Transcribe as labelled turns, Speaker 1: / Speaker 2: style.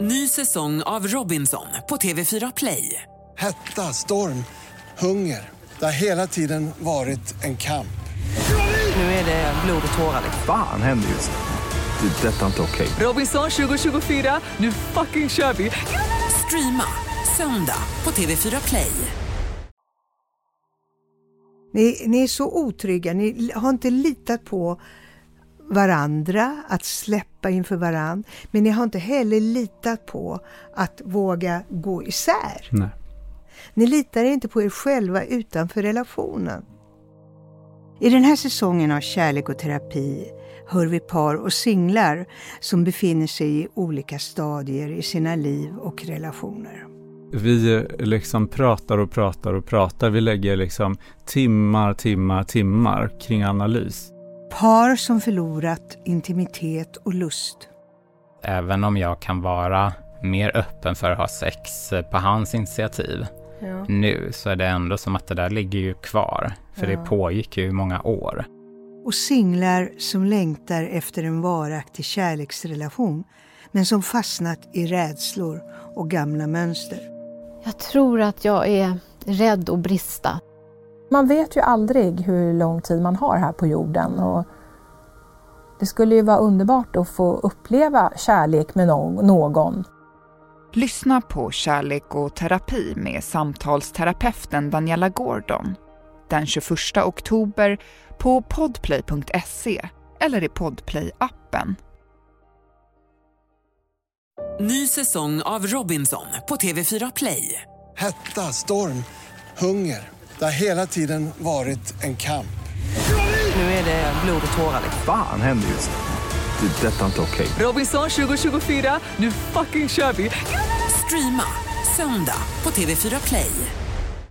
Speaker 1: Ny säsong av Robinson på TV4 Play.
Speaker 2: Hetta, storm, hunger. Det har hela tiden varit en kamp.
Speaker 1: Nu är det blod och tårar.
Speaker 3: Fan händer just nu. Det. är Detta är inte okej.
Speaker 1: Robinson 2024, nu fucking kör vi! Streama söndag på TV4 Play.
Speaker 4: Ni, ni är så otrygga, ni har inte litat på varandra, att släppa inför varandra. Men ni har inte heller litat på att våga gå isär.
Speaker 3: Nej.
Speaker 4: Ni litar inte på er själva utanför relationen. I den här säsongen av Kärlek och terapi hör vi par och singlar som befinner sig i olika stadier i sina liv och relationer.
Speaker 5: Vi eh, liksom pratar och pratar och pratar. Vi lägger liksom timmar, timmar, timmar kring analys.
Speaker 4: Par som förlorat intimitet och lust.
Speaker 6: även om jag kan vara mer öppen för att ha sex eh, på hans initiativ nu så är det ändå som att det där ligger ju kvar. För det pågick ju i många år.
Speaker 4: Och singlar som längtar efter en varaktig kärleksrelation men som fastnat i rädslor och gamla mönster.
Speaker 7: Jag tror att jag är rädd att brista.
Speaker 8: Man vet ju aldrig hur lång tid man har här på jorden. Och det skulle ju vara underbart att få uppleva kärlek med nå- någon.
Speaker 9: Lyssna på Kärlek och terapi med samtalsterapeuten Daniela Gordon den 21 oktober på podplay.se eller i podplay-appen.
Speaker 1: Ny säsong av Robinson på TV4 Play.
Speaker 2: Hetta, storm, hunger. Det har hela tiden varit en kamp.
Speaker 1: Nu är det blod och tårar.
Speaker 3: Fan händer just nu. Det. är Detta är inte okej.
Speaker 1: Robinson 2024, nu fucking kör vi! Streama söndag på TV4 Play.